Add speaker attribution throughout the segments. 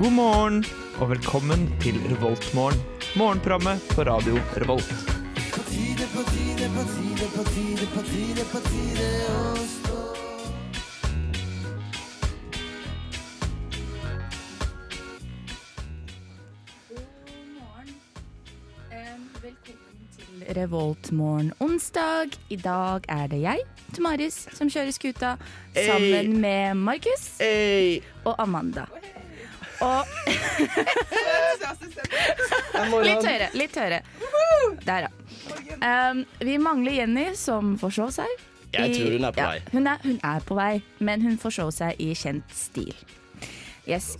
Speaker 1: God morgen og velkommen til Revoltmorgen. Morgenprogrammet på radio Revolt.
Speaker 2: God morgen. Em, Velkommen til Revoltmorgen onsdag. I dag er det jeg, Tomaris, som kjører skuta sammen med Markus og Amanda. Og litt høyere, litt høyere. Der, ja. Em, vi mangler Jenny, som forsov seg.
Speaker 3: Jeg tror hun er på
Speaker 2: ja,
Speaker 3: vei.
Speaker 2: hun, er, hun er på vei, men hun forsov seg i kjent stil. Yes.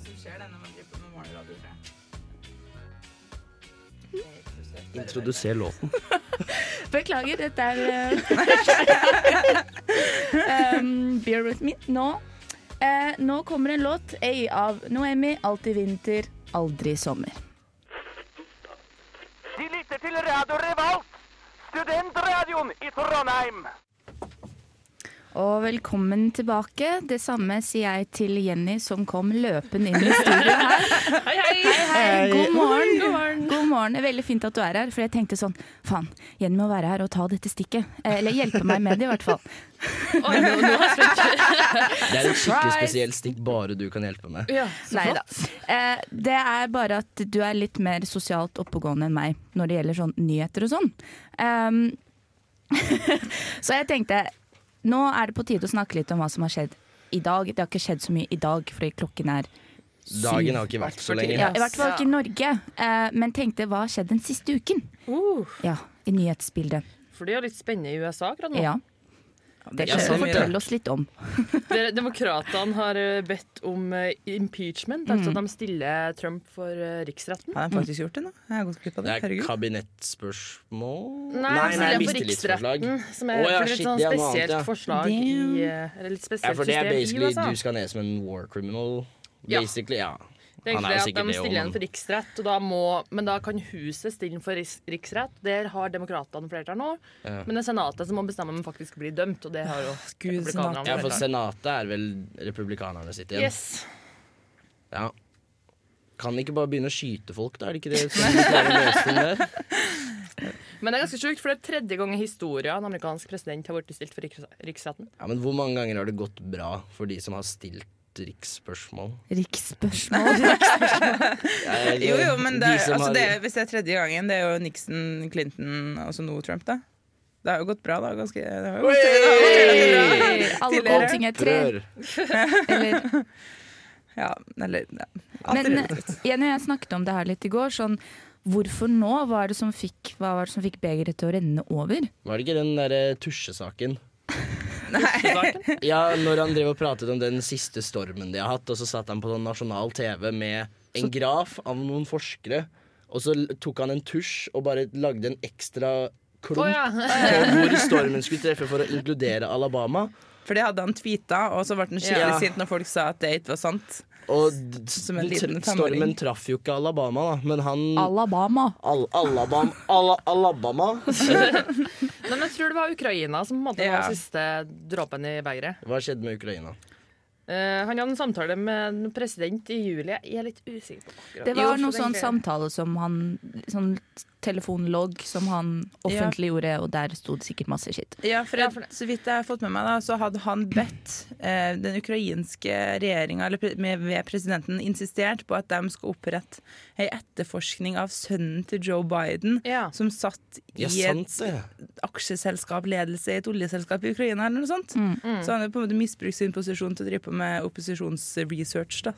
Speaker 3: Introduser låten.
Speaker 2: Beklager, dette er eh, um, Bear with me. Nå, eh, nå kommer en låt ei, av Noemi. Alltid vinter, aldri sommer.
Speaker 4: De lytter til Radio Revolt, studentradioen i Trondheim.
Speaker 2: Og velkommen tilbake. Det samme sier jeg til Jenny som kom løpende inn i studio her. Hei, hei. God morgen. God morgen. Det er Veldig fint at du er her, for jeg tenkte sånn Faen, Jenny må være her og ta dette stikket. Eh, Eller hjelpe meg med det, i hvert fall.
Speaker 3: Det er et skikkelig
Speaker 2: Surprise!
Speaker 3: spesielt stikk bare du kan hjelpe med.
Speaker 2: Nei da. Eh, det er bare at du er litt mer sosialt oppegående enn meg når det gjelder sånn nyheter og sånn. Ehm, så jeg tenkte nå er det på tide å snakke litt om hva som har skjedd i dag. Det har ikke skjedd så mye i dag, fordi klokken er syv.
Speaker 3: Dagen har ikke vært så lenge.
Speaker 2: ja, I hvert fall ikke i Norge. Eh, men tenkte hva har skjedd den siste uken?
Speaker 5: Uh,
Speaker 2: Ja, i nyhetsbildet.
Speaker 5: for de har litt spennende i USA akkurat nå.
Speaker 2: Ja. Det
Speaker 3: er
Speaker 2: skjer.
Speaker 3: så mye.
Speaker 2: Fortell oss litt om.
Speaker 5: De- Demokratene har eh, bedt om eh, impeachment,
Speaker 3: Mm.
Speaker 5: altså de stiller Trump for eh, riksretten.
Speaker 6: Har han faktisk gjort det nå? Jeg har gått glipp av
Speaker 3: Det
Speaker 6: det.
Speaker 3: er
Speaker 6: Herregud.
Speaker 3: kabinettspørsmål
Speaker 5: Nei, de stiller for
Speaker 3: mistillitsforslag.
Speaker 5: riksretten, som er
Speaker 3: Å, ja,
Speaker 5: for det er
Speaker 3: shit,
Speaker 5: et sånn
Speaker 3: det er noe annet,
Speaker 5: spesielt
Speaker 3: ja.
Speaker 5: forslag i eh, Eller litt
Speaker 3: Ja,
Speaker 5: spesielt
Speaker 3: for det er
Speaker 5: system i
Speaker 3: basically
Speaker 5: USA.
Speaker 3: du skal ned som en war criminal.
Speaker 5: Ja.
Speaker 3: Basically, ja.
Speaker 5: Det er
Speaker 3: Han er jo
Speaker 5: egentlig at
Speaker 3: sikkert
Speaker 5: de
Speaker 3: det
Speaker 5: stiller
Speaker 3: òg,
Speaker 5: den for riksrett, og da må, men da kan huset stille den for ris- riksrett. Der har demokratene flertall nå,
Speaker 3: Ja.
Speaker 5: men det er senatet som må bestemme om han faktisk blir dømt, og det har jo
Speaker 6: Gud,
Speaker 5: republikanerne
Speaker 3: Ja, for
Speaker 5: flertall.
Speaker 3: senatet er vel republikanerne sitt igjen.
Speaker 5: Yes.
Speaker 3: Ja. Kan de ikke bare begynne å skyte folk, da? Er det ikke det som er løsningen der?
Speaker 5: Men det er ganske sjukt, for det er tredje gang i historien en amerikansk president har blitt stilt for riks riksretten.
Speaker 3: Ja, men hvor mange ganger har det gått bra for de som har stilt riksspørsmål?
Speaker 2: Riksspørsmål.
Speaker 3: Jeg-
Speaker 6: Jo, jo, men det,
Speaker 3: de
Speaker 6: er-
Speaker 3: som
Speaker 6: altså,
Speaker 3: har-
Speaker 6: det, er- hvis det er tredje gangen, det er jo Nixon, Clinton og så nå Trump, da. Det har jo gått bra, da. Ganske, det har jo gått, det har gått relativt bra.
Speaker 2: Alle gode ting er tre.
Speaker 3: Prøv.
Speaker 2: Eller
Speaker 6: Ja, eller ja. Alt er
Speaker 2: Men
Speaker 6: relativt.
Speaker 2: Jenny og jeg snakket om det her litt i går. Sånn, hvorfor nå? Hva er det som fikk, hva var det som fikk begeret til å renne over?
Speaker 3: Var det ikke den derre tusjesaken?
Speaker 5: Saken.
Speaker 3: Ja, når han drev og pratet om den siste stormen de har hatt, og så satt han på sånn nasjonal TV med en graf av noen forskere, og så l- tok han en tusj og bare lagde en ekstra klump
Speaker 5: Å ja.
Speaker 3: på hvor stormen skulle treffe for å inkludere Alabama.
Speaker 6: For det hadde han tweeta, og så ble han skikkelig
Speaker 3: Ja.
Speaker 6: sint når folk sa at det ikke var sant.
Speaker 3: Og d-
Speaker 6: Som en
Speaker 3: den
Speaker 6: liten
Speaker 3: tr- stormen
Speaker 6: femåring.
Speaker 3: traff jo ikke Alabama, da, men han
Speaker 2: Alabama.
Speaker 3: Al Alabama, Ala Alabama
Speaker 5: Altså, Nei, men jeg tror det var Ukraina som på en måte
Speaker 6: Ja.
Speaker 5: var den siste dråpen i begeret.
Speaker 3: Hva skjedde med Ukraina?
Speaker 5: Eh, han hadde en samtale med en president i juli. Jeg er litt usikker. på akkurat.
Speaker 2: Det var
Speaker 5: Jo,
Speaker 2: noe
Speaker 5: for
Speaker 2: sånn
Speaker 5: egentlig-
Speaker 2: samtale som han Sånn telefonlogg som han offentliggjorde, og der sto det sikkert masse skitt.
Speaker 6: Ja, for, jeg, Så vidt jeg har fått med meg, da, så hadde han bedt eh, den ukrainske regjeringa, eller pre- med, ved presidenten, insistert på at de skal opprette ei etterforskning av sønnen til Joe Biden,
Speaker 5: Ja.
Speaker 6: som satt i
Speaker 3: Ja, sant
Speaker 6: et
Speaker 3: det.
Speaker 6: aksjeselskapledelse i et oljeselskap i Ukraina, eller noe sånt.
Speaker 5: Mm.
Speaker 6: Så han har på en måte misbrukt sin posisjon til å drive på med opposisjonsresearch, da.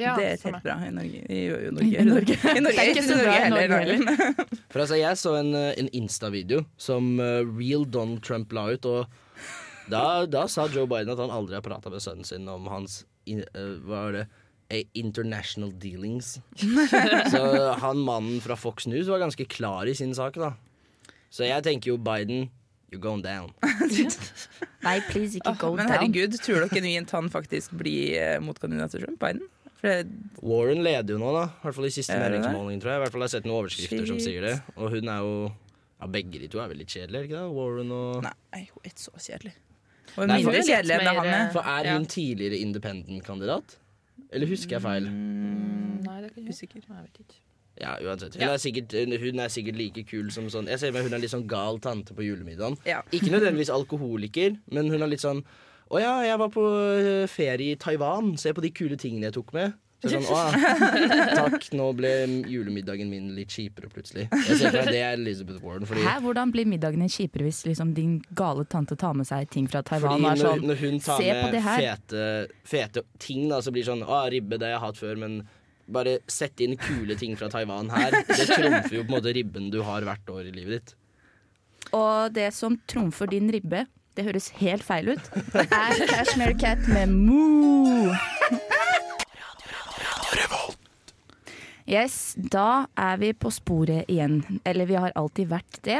Speaker 5: Ja,
Speaker 6: det er
Speaker 5: samme.
Speaker 6: helt bra i Norge. I, i Norge. I Norge.
Speaker 2: Det er ikke så bra i Norge heller.
Speaker 3: For altså, jeg så en, eh, en Insta-video som eh, real Don Trump la ut, og da, da sa Joe Biden at han aldri har prata med sønnen sin om hans in, eh, Hva var det? Eh, International dealings. Så han mannen fra Fox News var ganske klar i sin sak, da. Så jeg tenker jo Biden You're going down.
Speaker 2: Nei, please, ikke go
Speaker 6: Men
Speaker 2: down.
Speaker 6: herregud, tror dere genuint han faktisk blir eh, motkandidat til Trump, Biden? For det
Speaker 3: Warren leder jo nå, da. I hvert fall i siste
Speaker 6: Er det det?
Speaker 3: meningsmåling, tror jeg. I hvert fall har jeg sett noen overskrifter som
Speaker 6: Shit.
Speaker 3: sier det. Og hun er jo ja, Begge de to er veldig kjedelige, er det ikke det? Warren og
Speaker 6: Nei, hun er ikke så kjedelig. Hun er
Speaker 3: Nei, for-
Speaker 6: mindre kjedelig enn det han
Speaker 5: Litt
Speaker 6: er.
Speaker 5: mer, eh,
Speaker 3: For er
Speaker 5: Ja.
Speaker 3: hun tidligere independent-kandidat? Eller husker jeg feil?
Speaker 5: Nei, det kan jeg
Speaker 6: Usikker.
Speaker 5: Nei, jeg vet ikke.
Speaker 3: Ja, uansett. Hun,
Speaker 5: Ja.
Speaker 3: er sikkert, hun er sikkert like kul som sånn Jeg ser for meg hun er litt sånn gal tante på julemiddagen.
Speaker 6: Ja.
Speaker 3: Ikke nødvendigvis alkoholiker, men hun er litt sånn Å ja, jeg var på eh, ferie i Taiwan. Se på de kule tingene jeg tok med. Så jeg er sånn, Å, takk, nå ble julemiddagen min litt kjipere plutselig. Jeg ser for meg det er Elizabeth Warren. Fordi,
Speaker 2: Hæ, hvordan blir middagen din kjipere hvis liksom, din gale tante tar med seg ting fra Taiwan?
Speaker 3: fordi
Speaker 2: og er
Speaker 3: når,
Speaker 2: sånn,
Speaker 3: når hun tar
Speaker 2: Se på
Speaker 3: med
Speaker 2: det her.
Speaker 3: fete, fete ting, da, så blir det sånn Å, ribbe, det har jeg hatt før, men bare sett inn kule ting fra Taiwan her. Det trumfer jo på en måte ribben du har hvert år i livet ditt.
Speaker 2: Og det som trumfer din ribbe, det høres helt feil ut, er Cashmere Cat med Moo. Yes, da er vi på sporet igjen. Eller vi har alltid vært det.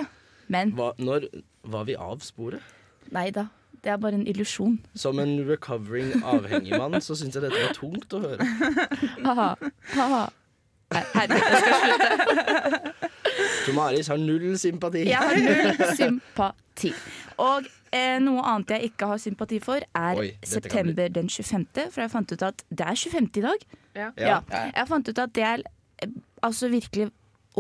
Speaker 2: Men
Speaker 3: Hva, når var vi av sporet?
Speaker 2: nei da, det er bare en illusjon.
Speaker 3: Som en recovering avhengig mann, så syns jeg dette var tungt å høre.
Speaker 2: Ha-ha. Ha-ha. Nei, Herregud, jeg skal slutte.
Speaker 3: Tomaris har null sympati.
Speaker 2: Jeg har null sympati. Og eh, noe annet jeg ikke har sympati for, er
Speaker 3: Oi, dette kan
Speaker 2: september den 25., for jeg fant ut at det er 25. i dag.
Speaker 5: Ja.
Speaker 2: Ja. Jeg fant ut at det er eh, altså virkelig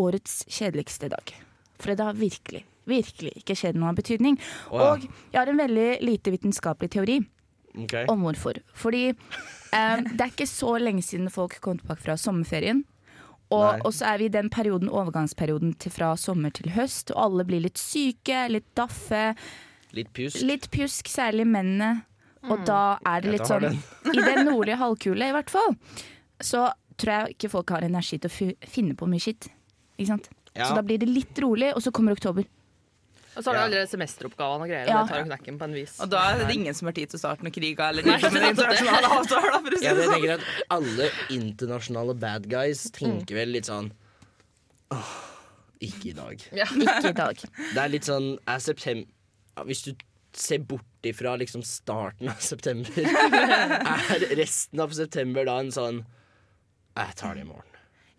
Speaker 2: årets kjedeligste dag. For det har virkelig, virkelig ikke skjedd noe av betydning.
Speaker 3: ja.
Speaker 2: Og jeg har en veldig lite vitenskapelig teori
Speaker 3: Ok.
Speaker 2: om hvorfor. Fordi eh, det er ikke så lenge siden folk kom tilbake fra sommerferien.
Speaker 3: Nei.
Speaker 2: Og, og så er vi i den perioden, overgangsperioden til fra sommer til høst, og alle blir litt syke, litt daffe,
Speaker 3: Litt pjusk.
Speaker 2: litt pjusk, særlig mennene. Og da er det
Speaker 3: Jeg
Speaker 2: litt
Speaker 3: tar
Speaker 2: sånn I den nordlige halvkule, i hvert fall, så tror jeg ikke folk har energi til å fi- finne på mye skitt. Ikke sant? Så
Speaker 3: Ja.
Speaker 2: da blir det litt rolig, og så kommer oktober.
Speaker 5: Og så har du
Speaker 3: Ja.
Speaker 5: alle semesteroppgavene og greier.
Speaker 2: Ja.
Speaker 5: Og det tar jo knekken på en vis.
Speaker 6: Og da er det ingen som har tid til å starte noen kriger eller drive
Speaker 5: nettopp
Speaker 6: med
Speaker 5: det.
Speaker 6: internasjonale avtaler. For å si
Speaker 3: Ja, men jeg
Speaker 6: det sånn.
Speaker 3: tenker at alle internasjonale bad guys
Speaker 2: Mm.
Speaker 3: tenker vel litt sånn Åh, ikke i dag.
Speaker 2: Ikke i dag.
Speaker 3: Det er litt sånn er septem- ja, Hvis du ser bort ifra liksom starten av september, er resten av september da en sånn Jeg tar det i morgen.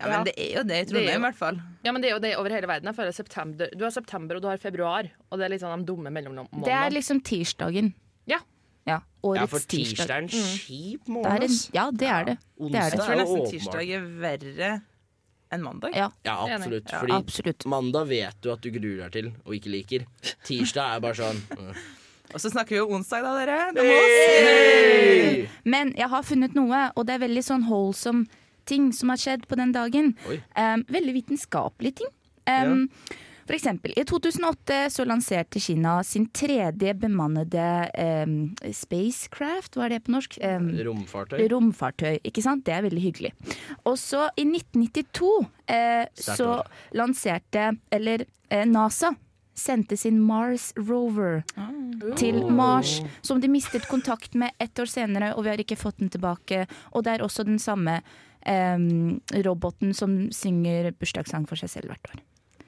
Speaker 6: Ja, men det er jo det
Speaker 5: Det
Speaker 6: i
Speaker 5: er
Speaker 6: Trondheim, i
Speaker 5: jo-
Speaker 6: hvert fall.
Speaker 5: Ja, men Det er jo det over hele verden. Jeg føler september, Du har september og du har februar, og det er litt sånn de dumme mellommånedene.
Speaker 2: Det er liksom tirsdagen.
Speaker 5: Ja.
Speaker 2: Ja,
Speaker 3: Ja,
Speaker 2: årets
Speaker 3: for tirsdag
Speaker 2: tirsdag. Mm.
Speaker 3: er en kjip
Speaker 2: Det er
Speaker 3: morgen.
Speaker 2: en,
Speaker 3: ass.
Speaker 2: ja, det er det. det er det.
Speaker 3: Onsdag
Speaker 6: Jeg tror
Speaker 3: jo
Speaker 6: nesten
Speaker 3: åpenbart.
Speaker 6: tirsdag er verre enn mandag.
Speaker 2: Ja,
Speaker 3: Ja,
Speaker 5: Enig.
Speaker 3: absolutt.
Speaker 6: Ja,
Speaker 3: Fordi
Speaker 2: absolutt.
Speaker 3: mandag vet du at du gruer deg til og ikke liker. Tirsdag er bare sånn øh.
Speaker 6: Og så snakker vi jo onsdag, da, dere. Det må oss.
Speaker 2: Men jeg har funnet noe, og det er veldig sånn wholesome ting som har skjedd på den dagen.
Speaker 3: Oi.
Speaker 2: Em, veldig vitenskapelige ting. Em, For eksempel, I 2008 så lanserte Kina sin tredje bemannede em, spacecraft, hva er det på norsk? Em,
Speaker 3: Romfartøy.
Speaker 2: romfartøy. ikke sant? Det er veldig hyggelig. Og så i 1992 eh,
Speaker 3: Sterkt
Speaker 2: så
Speaker 3: år.
Speaker 2: lanserte, eller eh, NASA sendte sin Mars Rover til Mars, som de mistet kontakt med ett år senere, og vi har ikke fått den tilbake. Og det er også den samme eh, roboten som synger bursdagssang for seg selv hvert år.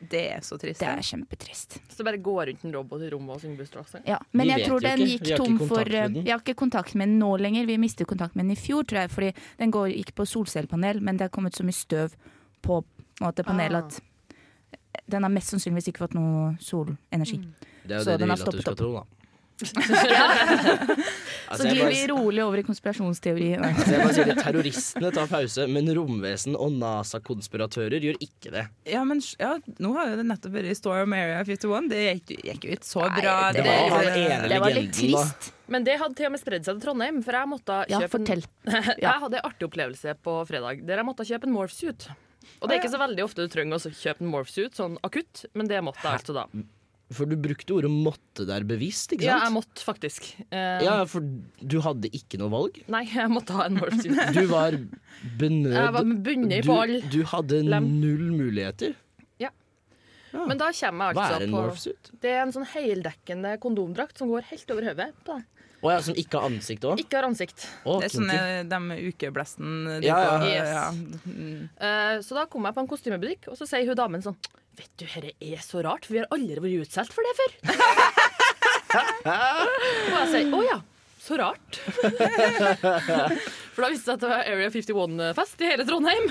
Speaker 6: Det er så trist.
Speaker 2: Det er kjempetrist.
Speaker 5: Så bare gå rundt en robot i rommet og synge bursdagssang.
Speaker 2: Ja, men
Speaker 3: Vi
Speaker 2: jeg
Speaker 3: vet
Speaker 2: tror
Speaker 3: jo
Speaker 2: den
Speaker 3: ikke.
Speaker 2: gikk
Speaker 3: Vi har ikke
Speaker 2: tom
Speaker 3: kontakt
Speaker 2: for eh,
Speaker 3: med den.
Speaker 2: Vi har ikke kontakt med den nå lenger. Vi mistet kontakt med den i fjor, tror jeg, fordi den går, gikk på solcellepanel, men det er kommet så mye støv på, på en måte,
Speaker 5: Ah.
Speaker 2: panelet at den har mest sannsynligvis ikke fått noe solenergi.
Speaker 3: Det er jo
Speaker 2: Så
Speaker 3: det de
Speaker 2: den
Speaker 3: vil
Speaker 2: har
Speaker 3: at du skal
Speaker 2: stoppet
Speaker 3: tro, da. altså,
Speaker 2: Så
Speaker 3: jeg
Speaker 2: glir vi
Speaker 3: bare,
Speaker 2: rolig over i konspirasjonsteori. Nei.
Speaker 3: altså, jeg bare sier det, Terroristene tar pause, men romvesen og NASA-konspiratører gjør ikke det.
Speaker 6: Ja, men s- ja, nå har jo det nettopp vært Storm Area 51. Det gikk, gikk jo ikke så bra.
Speaker 2: det
Speaker 3: Det var
Speaker 2: var-
Speaker 3: han ene
Speaker 2: Det var litt
Speaker 3: legenden, da.
Speaker 2: trist.
Speaker 5: Men det hadde til og med spredd seg til Trondheim, for jeg måtte
Speaker 2: Ja,
Speaker 5: kjøpe en-
Speaker 2: fortell.
Speaker 5: Jeg hadde en artig opplevelse på fredag der jeg måtte kjøpe en morphsuit. Og det er ikke så veldig ofte du trenger å kjøpe en morphsuit sånn akutt, men det måtte jeg altså da.
Speaker 3: For du brukte ordet 'måtte' der bevisst, ikke
Speaker 5: Ja, jeg
Speaker 3: sant?
Speaker 5: måtte faktisk. Eh,
Speaker 3: Ja, for du hadde ikke noe valg.
Speaker 5: Nei, jeg måtte ha en morphsuit.
Speaker 3: Du var benød
Speaker 5: Jeg var bundet
Speaker 3: du,
Speaker 5: på all
Speaker 3: du hadde
Speaker 5: lem.
Speaker 3: null muligheter.
Speaker 5: Men da kommer jeg
Speaker 3: Hva
Speaker 5: altså
Speaker 3: er en
Speaker 5: på
Speaker 3: morphsuit?
Speaker 5: Det er en sånn heldekkende kondomdrakt som går helt over hodet på deg.
Speaker 3: Å ja, som ikke har ansikt òg?
Speaker 5: Ikke har ansikt.
Speaker 6: Det er sånn, eh, sånne de ukeblesten de
Speaker 3: Ja,
Speaker 6: får,
Speaker 5: ja.
Speaker 6: Mm.
Speaker 5: Eh, så da kom jeg på en kostymebutikk, og så sier hun damen sånn Vet du, herre er så rart, for vi har aldri vært utsolgt for det før. og jeg sier å ja, så rart. for da visste jeg at det var Area 51-fest i hele Trondheim.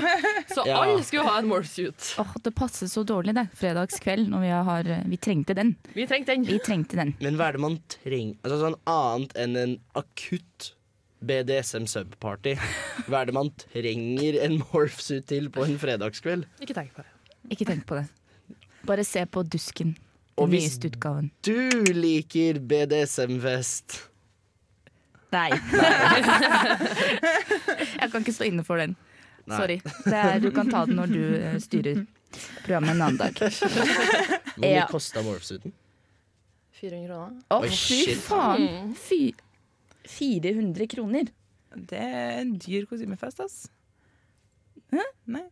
Speaker 5: Så
Speaker 3: Ja.
Speaker 5: alle skulle ha en morphsuit.
Speaker 2: Åh, det passet så dårlig, det. Fredagskveld, når vi har eh, Vi trengte den.
Speaker 5: Vi trengte den.
Speaker 2: Vi trengte den.
Speaker 3: Men hva er det man trenger Altså sånn annet enn en akutt BDSM subparty. Hva er det man trenger en morphsuit til på en fredagskveld?
Speaker 5: Ikke tenk på det.
Speaker 2: Ikke tenk på det. Bare se på Dusken.
Speaker 3: Og
Speaker 2: Den
Speaker 3: hvis-
Speaker 2: nyeste utgaven.
Speaker 3: Du liker BDSM-fest.
Speaker 2: Nei. Jeg kan ikke stå inne for den.
Speaker 3: Nei.
Speaker 2: Sorry. Det er, du kan ta den når du eh, styrer programmet en annen dag.
Speaker 3: Hvor mye
Speaker 2: Ja.
Speaker 3: kosta morphsuiten?
Speaker 5: 400 kroner.
Speaker 2: Å,
Speaker 3: Oi,
Speaker 2: fy
Speaker 3: shit.
Speaker 2: faen! Fy 400 kroner.
Speaker 6: Det er en dyr kostymefest, ass. Hæ? Nei.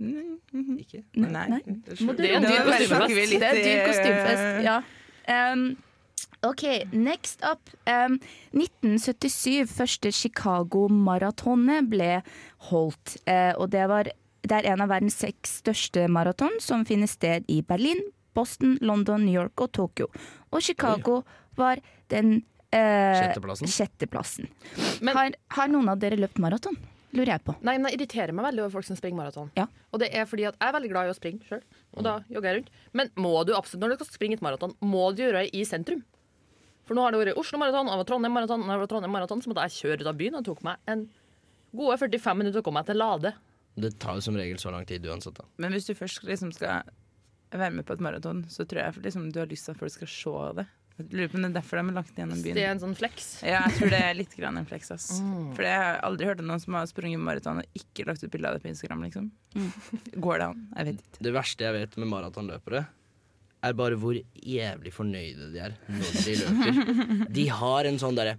Speaker 6: Mm,
Speaker 3: Ikke?
Speaker 6: Nei. Nei.
Speaker 2: Må du-
Speaker 5: Det er en
Speaker 6: Nå
Speaker 5: dyr kostymefest.
Speaker 6: snakker vi litt eh,
Speaker 2: Det er en dyr
Speaker 6: i-
Speaker 2: kostymefest, ja. Em, OK, next up. Em, 1977, første Chicago-maratonet ble holdt. eh, og det, var, det er en av verdens seks største maraton som finner sted i Berlin, Boston, London, New York og Tokyo. Og Chicago var den eh,
Speaker 3: Sjetteplassen?
Speaker 2: sjetteplassen.
Speaker 5: Men-
Speaker 2: har, har noen av dere løpt maraton? Lurer jeg på.
Speaker 5: Nei, men Det irriterer meg veldig over folk som springer maraton.
Speaker 2: Ja.
Speaker 5: Og det er fordi at jeg er veldig glad i å springe sjøl, og da jogger jeg rundt. Men må du absolutt, når du skal springe et maraton, må du gjøre det i sentrum. For nå har det vært Oslo maraton, og Trondheim maraton, og det var Trondheim maraton, så måtte jeg kjøre ut av byen. Og det tok meg en gode 45 minutter å komme meg til Lade.
Speaker 3: Det tar jo som regel så lang tid uansett. da
Speaker 6: Men hvis du først liksom skal være med på et maraton, så tror jeg liksom, du har lyst til at folk skal se det. Jeg lurer på om det er derfor de har lagt det gjennom
Speaker 5: Det er
Speaker 6: byen.
Speaker 5: en sånn flex.
Speaker 6: Ja, jeg tror det er litt grann en flex, ass. For jeg har aldri hørt om noen som har sprunget maraton og ikke lagt ut bilde av det på Instagram, liksom. Går det an? Jeg vet ikke.
Speaker 3: Det verste jeg vet med maratonløpere, er bare hvor jævlig fornøyde de er når de løper. De har en sånn derre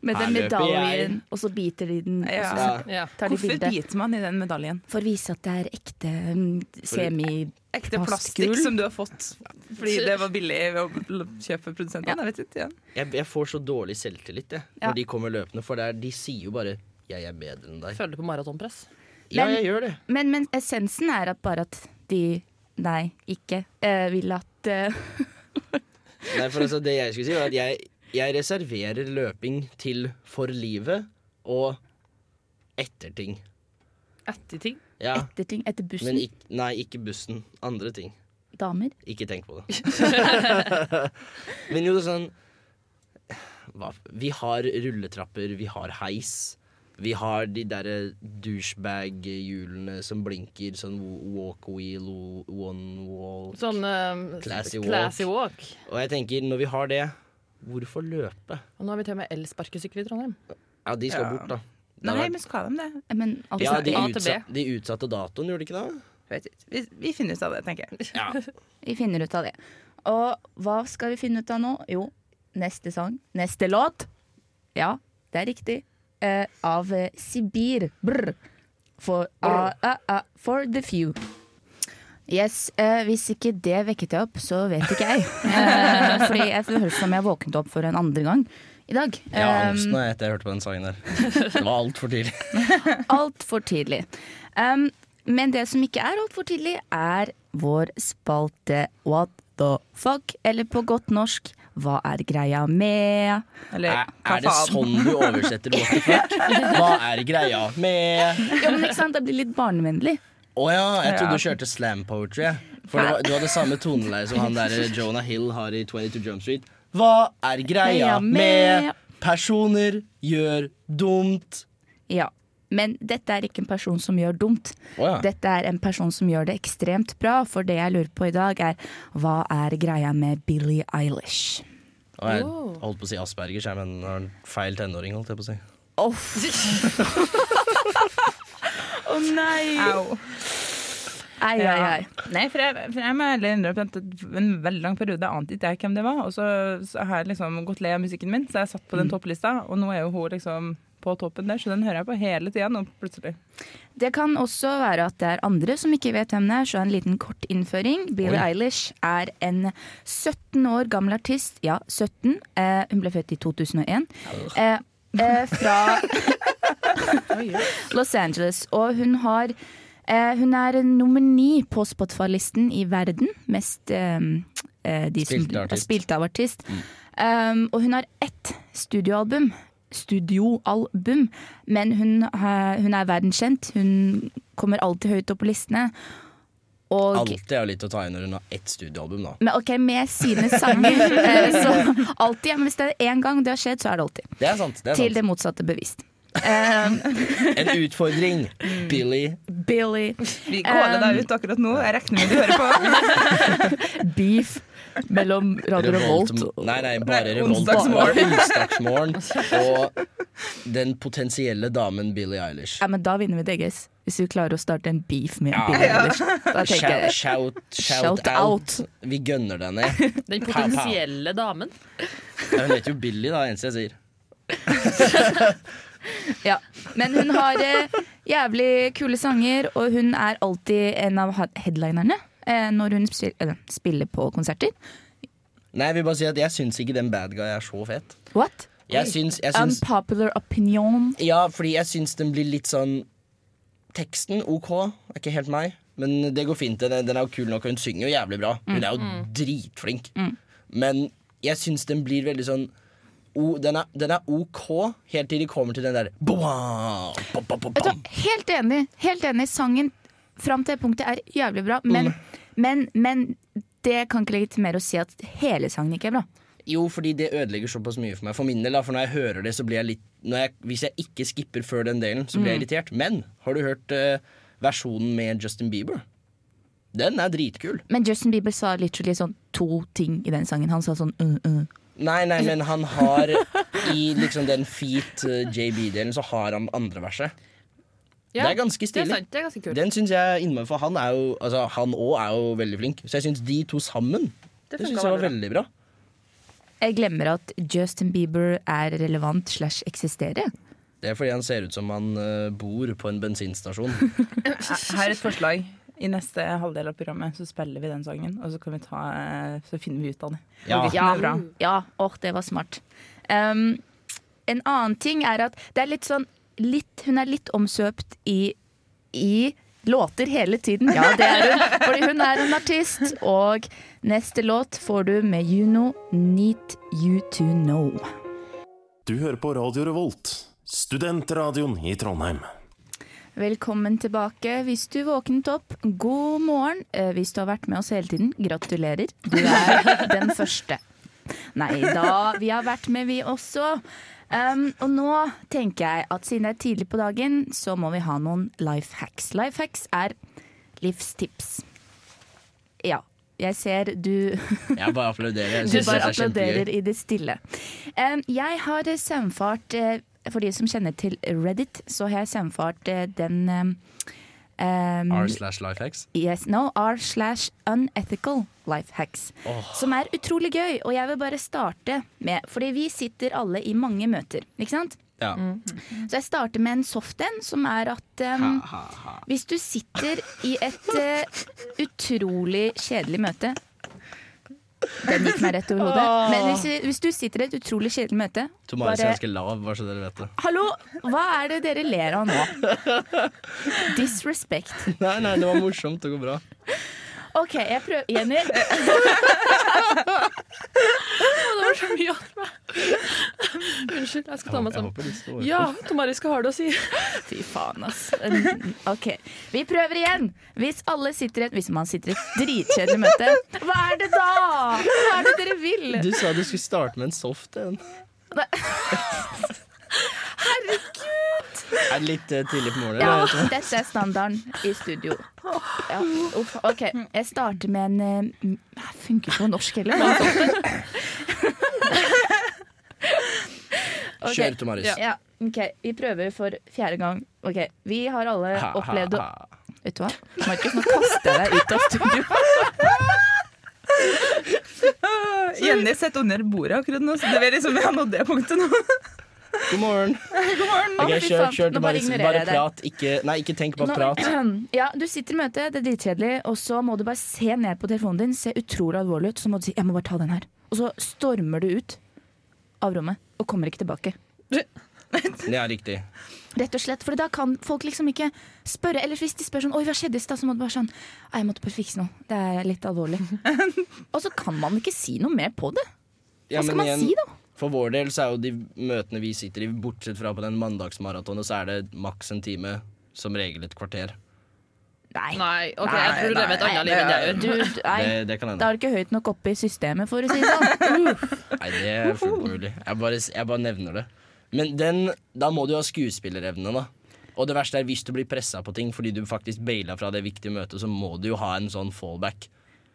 Speaker 2: Med
Speaker 3: Her
Speaker 2: den
Speaker 3: løper jeg.
Speaker 2: medaljen, og så biter de den.
Speaker 6: Ja.
Speaker 2: Og så
Speaker 3: ja,
Speaker 5: Ja.
Speaker 2: tar de
Speaker 6: Hvorfor
Speaker 2: bilde.
Speaker 6: biter man i den medaljen?
Speaker 2: For å vise at det er ekte mm, semi...
Speaker 6: Ekte
Speaker 2: Plastgull.
Speaker 6: plastikk som du har fått fordi det var billig ved å l- kjøpe produsenten. Jeg vet ikke. Ja.
Speaker 3: jeg, jeg får så dårlig selvtillit jeg,
Speaker 2: Ja.
Speaker 3: når de kommer løpende, for det er- de sier jo bare 'jeg er bedre enn deg'.
Speaker 5: Føler du på maratonpress?
Speaker 3: Ja,
Speaker 2: Men-
Speaker 3: jeg gjør det.
Speaker 2: Men, men essensen er at bare at de Nei, ikke eh, vil at eh,
Speaker 3: Nei, for altså, det jeg skulle si, var at jeg, jeg reserverer løping til for livet og etter ting.
Speaker 5: Etter ting?
Speaker 3: Ja,
Speaker 2: etter ting Etter bussen.
Speaker 3: men ikk, nei, ikke bussen. Andre ting.
Speaker 2: Damer.
Speaker 3: Ikke tenk på det. Men jo, det er sånn hva, Vi har rulletrapper, vi har heis. Vi har de derre douchebag-hjulene som blinker, sånn walk wheel, one wall
Speaker 5: Sånn eh,
Speaker 3: Classy walk.
Speaker 5: classy walk.
Speaker 3: Og jeg tenker, når vi har det, hvorfor løpe?
Speaker 5: Og nå har vi til og med elsparkesykkel i Trondheim.
Speaker 3: Ja, de skal
Speaker 6: Ja.
Speaker 3: bort, da. Det har
Speaker 6: Nei,
Speaker 3: vært-
Speaker 6: men skal de det?
Speaker 2: Eh, Men altså,
Speaker 3: ja, de,
Speaker 5: A til B.
Speaker 3: utsatte, de utsatte datoen, gjorde de ikke det?
Speaker 6: Vet ikke. Vi, vi finner ut av det, tenker jeg.
Speaker 3: Ja.
Speaker 2: vi finner ut av det. Og hva skal vi finne ut av nå? Jo, neste sang. Neste låt. Ja, det er riktig. Eh, av eh, Sibir. Brr. For, ah, ah, ah, for the few. Yes, eh, Hvis ikke det vekket jeg opp, så vet ikke jeg. Eh, fordi jeg følte som jeg våknet opp for en andre gang i dag.
Speaker 3: Jeg har
Speaker 2: Eh,
Speaker 3: angst nå etter jeg hørte på den sangen der. Det var altfor tidlig.
Speaker 2: altfor tidlig. Um, men det som ikke er altfor tidlig, er vår spalte What the fuck? Eller på godt norsk Hva er greia med?
Speaker 6: Eller
Speaker 3: Er,
Speaker 6: hva
Speaker 3: er det
Speaker 6: faen?
Speaker 3: sånn du oversetter what the fuck? Hva er greia med
Speaker 2: Ja, men ikke sant, Det blir litt barnevennlig.
Speaker 3: Å ja, jeg trodde du kjørte slam poetry. jeg. For det var, du hadde samme toneleie som han der eh, Jonah Hill har i 22 Jump Street. Hva er greia
Speaker 2: Greia med-
Speaker 3: med personer gjør dumt?
Speaker 2: Ja. Men dette er ikke en person som gjør dumt.
Speaker 3: Å ja.
Speaker 2: Dette er en person som gjør det ekstremt bra, for det jeg lurer på i dag, er hva er greia med Billie Eilish?
Speaker 3: Og jeg holdt på å si Aspergers, jeg, men har en feil tenåring, holdt jeg på å si.
Speaker 2: Å nei!
Speaker 6: Au.
Speaker 2: Ai, ai, ai.
Speaker 6: Nei, for jeg, for jeg må ærlig innrømme at en veldig lang periode ante ikke jeg hvem det var. Og så, så har jeg liksom gått lei av musikken min, så jeg satt på den topplista, og nå er jo hun liksom på toppen der, så den hører jeg på hele tida nå, plutselig.
Speaker 2: Det kan også være at det er andre som ikke vet hvem det er, så en liten kort innføring. Billie
Speaker 3: Oi.
Speaker 2: Eilish er en 17 år gammel artist. Ja, 17. Eh, hun ble født i 2001. Eh, eh, fra Los Angeles. Og hun har eh, Hun er nummer ni på Spotify-listen i verden. Mest eh, eh, de
Speaker 3: Spilt av
Speaker 2: som,
Speaker 3: artist. Mm.
Speaker 2: spilt av artist. Um, og hun har ett studioalbum. Studioalbum. Men hun, eh, hun er verdenskjent. Hun kommer alltid høyt opp på listene. Og
Speaker 3: Alltid er jo litt å ta inn når hun har ett studioalbum, da.
Speaker 2: men, ok, med sine sanger. eh, så alltid, ja, men Hvis det er én gang det har skjedd, så er det alltid.
Speaker 3: Det er sant. Det er
Speaker 2: Til
Speaker 3: sant.
Speaker 2: det motsatte bevist. Um,
Speaker 3: En utfordring, Billy.
Speaker 2: Billy.
Speaker 6: Vi kåler deg ut akkurat nå. Jeg regner med du hører på.
Speaker 2: Beef mellom Radio Revolt
Speaker 3: Nei, nei, bare
Speaker 6: Nei,
Speaker 3: Revolt.
Speaker 6: Onsdagsmorgen.
Speaker 3: Bare Onsdagsmorgen. Og den potensielle damen Billie Eilish.
Speaker 2: Ja, men Da vinner vi DGS, hvis vi klarer å starte en beef med
Speaker 3: Ja.
Speaker 2: Billie Eilish. Da tenker
Speaker 3: Shout,
Speaker 2: jeg
Speaker 3: shout, shout
Speaker 2: Shout
Speaker 3: out. Vi gønner den ned.
Speaker 5: Den
Speaker 3: pow.
Speaker 5: potensielle damen.
Speaker 3: Hun heter jo Billie, da, eneste jeg sier.
Speaker 2: ja. Men hun har eh, jævlig kule sanger, og hun er alltid en av ha- headlinerne eh, når hun spil eller, spiller på konserter.
Speaker 3: Nei, jeg vil bare si at jeg syns ikke den bad guy er så fet.
Speaker 2: What?
Speaker 3: Jeg syns, jeg syns
Speaker 2: Unpopular opinion.
Speaker 3: Ja, fordi jeg syns den blir litt sånn Teksten OK, er ikke helt meg, men det går fint. Den, den er jo kul nok, og hun synger jo jævlig bra. Hun er jo dritflink. Men jeg syns den blir veldig sånn o, den, er, den er OK helt til de kommer til den der boa, ba, ba, ba,
Speaker 2: Vet du,
Speaker 3: bam.
Speaker 2: hva, helt enig. Helt enig. Sangen fram til det punktet er jævlig bra, men, men, men det kan ikke legitimere å si at hele sangen ikke er bra.
Speaker 3: Jo, fordi det ødelegger såpass mye for meg. For min del, da, for når jeg hører det, så blir jeg litt når jeg, Hvis jeg ikke skipper før den delen, så blir jeg irritert. Men har du hørt eh, versjonen med Justin Bieber? Den er dritkul.
Speaker 2: Men Justin Bieber sa literally sånn to ting i den sangen. Han sa sånn uh, uh.
Speaker 3: Nei, nei, men han har i liksom den feat eh, JB-delen, så har han andre verset.
Speaker 5: Ja,
Speaker 3: Det er ganske
Speaker 5: Det er
Speaker 3: stilig.
Speaker 5: sant, det er ganske kult.
Speaker 3: Den syns jeg er innmari, for han er jo Altså, han òg er jo veldig flink. Så jeg syns de to sammen Det,
Speaker 5: funker
Speaker 3: synes jeg var
Speaker 5: veldig
Speaker 3: veldig bra.
Speaker 2: Jeg glemmer at Justin Bieber er relevant slash eksisterer.
Speaker 3: Det er fordi han ser ut som han eh, bor på en bensinstasjon.
Speaker 6: Her er et forslag. I neste halvdel av programmet så spiller vi den sangen, og så, kan vi ta, eh, så finner vi ut av det.
Speaker 3: Ja.
Speaker 6: Hvorvidt den er bra.
Speaker 2: Ja, åh, det var smart. Um, en annen ting er at det er litt sånn litt, Hun er litt omsøpt i, i låter hele tiden. Ja, det er hun. Fordi hun er en artist. Og neste låt får du med Juno, 'Need You To Know'.
Speaker 7: Du hører på Radio Revolt, studentradioen i Trondheim.
Speaker 2: Velkommen tilbake. Hvis du våknet opp, god morgen. Eh, Hvis du har vært med oss hele tiden, gratulerer. Du er den første. Nei da, vi har vært med vi også. Um, og nå tenker jeg at siden det er tidlig på dagen, så må vi ha noen life hacks. Life hacks er livstips. Ja, jeg ser du
Speaker 3: Jeg bare applauderer. Jeg
Speaker 2: du
Speaker 3: synes
Speaker 2: bare
Speaker 3: dette er
Speaker 2: applauderer
Speaker 3: kjempegøy.
Speaker 2: i det stille. Em, jeg har eh, saumfart eh, For de som kjenner til Reddit, så har jeg saumfart eh, den em, em,
Speaker 3: R slash lifehacks.
Speaker 2: yes, no, R slash unethical life hacks. Som er utrolig gøy, og jeg vil bare starte med Fordi vi sitter alle i mange møter, ikke sant?
Speaker 3: Ja.
Speaker 2: Så jeg starter med en soft en, som er at em, hvis du sitter i et eh, utrolig kjedelig møte Den gikk meg rett over hodet. Men hvis, hvis du sitter i et utrolig kjedelig møte
Speaker 3: Tomaris er
Speaker 2: bare-
Speaker 3: ganske lav, bare så dere vet det.
Speaker 2: Hallo, hva er det dere ler av nå? Disrespect.
Speaker 3: Nei, nei, det var morsomt. Det går bra.
Speaker 2: OK, jeg prøver Jenny,
Speaker 5: Å, det var så mye av meg. Unnskyld, jeg skal ta
Speaker 3: Jeg
Speaker 5: meg sammen.
Speaker 3: håper de står.
Speaker 5: Ja, Tom Arild skal ha det å si.
Speaker 2: Fy faen, ass. Ok, Vi prøver igjen. Hvis alle sitter i et Hvis man sitter i et dritkjedelig møte, hva er det da? Hva er det dere vil?
Speaker 3: Du sa du skulle starte med en soft en.
Speaker 2: Nei.
Speaker 3: Er det litt eh, tidlig på morgenen?
Speaker 2: Ja,
Speaker 3: eller?
Speaker 2: dette er standarden i studio. Ja. Uff, OK, jeg starter med en eh, m- Jeg funker ikke på norsk heller. men- altså. Ok.
Speaker 3: Kjør, Tomaris.
Speaker 2: Ja, ok, Vi prøver for fjerde gang. Ok, Vi har alle opplevd å Vet du hva? Markus, nå kaster jeg deg ut av studio.
Speaker 6: Jenny sitter under bordet akkurat nå, så det er liksom, vi har nådd det punktet nå.
Speaker 3: God morgen.
Speaker 2: Å,
Speaker 3: Ok,
Speaker 2: fy
Speaker 3: kjør,
Speaker 2: faen.
Speaker 3: kjør
Speaker 2: Nå
Speaker 3: til
Speaker 2: bare
Speaker 3: bare,
Speaker 2: ignorerer
Speaker 3: bare
Speaker 2: jeg det.
Speaker 3: prat. Ikke, nei, ikke tenk, bare
Speaker 2: Nå-
Speaker 3: prat.
Speaker 2: Ja, Du sitter i møte, det er dritkjedelig, og så må du bare se ned på telefonen din, se utrolig alvorlig ut, så må du si 'jeg må bare ta den her'. Og så stormer du ut av rommet og kommer ikke tilbake.
Speaker 3: Det er riktig.
Speaker 2: Rett og slett, for da kan folk liksom ikke spørre. Eller hvis de spør sånn 'Oi, hva skjedde i stad?' så må du bare sånn 'Nei, jeg måtte bare fikse noe. Det er litt alvorlig'. og så kan man ikke si noe mer på det.
Speaker 3: Ja,
Speaker 2: Hva skal
Speaker 3: men
Speaker 2: man
Speaker 3: igjen,
Speaker 2: si, da?
Speaker 3: For vår del så er jo de møtene vi sitter i, bortsett fra på den mandagsmaratonen, så er det maks en time, som regel et kvarter.
Speaker 2: Nei.
Speaker 5: Nei, ok, jeg tror du lever et
Speaker 2: nei,
Speaker 5: annet liv enn jeg gjør.
Speaker 2: Du, nei.
Speaker 3: Det, det kan
Speaker 2: Da
Speaker 3: hende.
Speaker 2: er du ikke høyt nok oppe i systemet, for å si det sånn.
Speaker 3: Nei, det er fullt mulig. Jeg bare, jeg bare nevner det. Men den, da må du ha skuespillerevne, da. Og det verste er hvis du blir pressa på ting fordi du faktisk baila fra det viktige møtet, så må du jo ha en sånn fallback.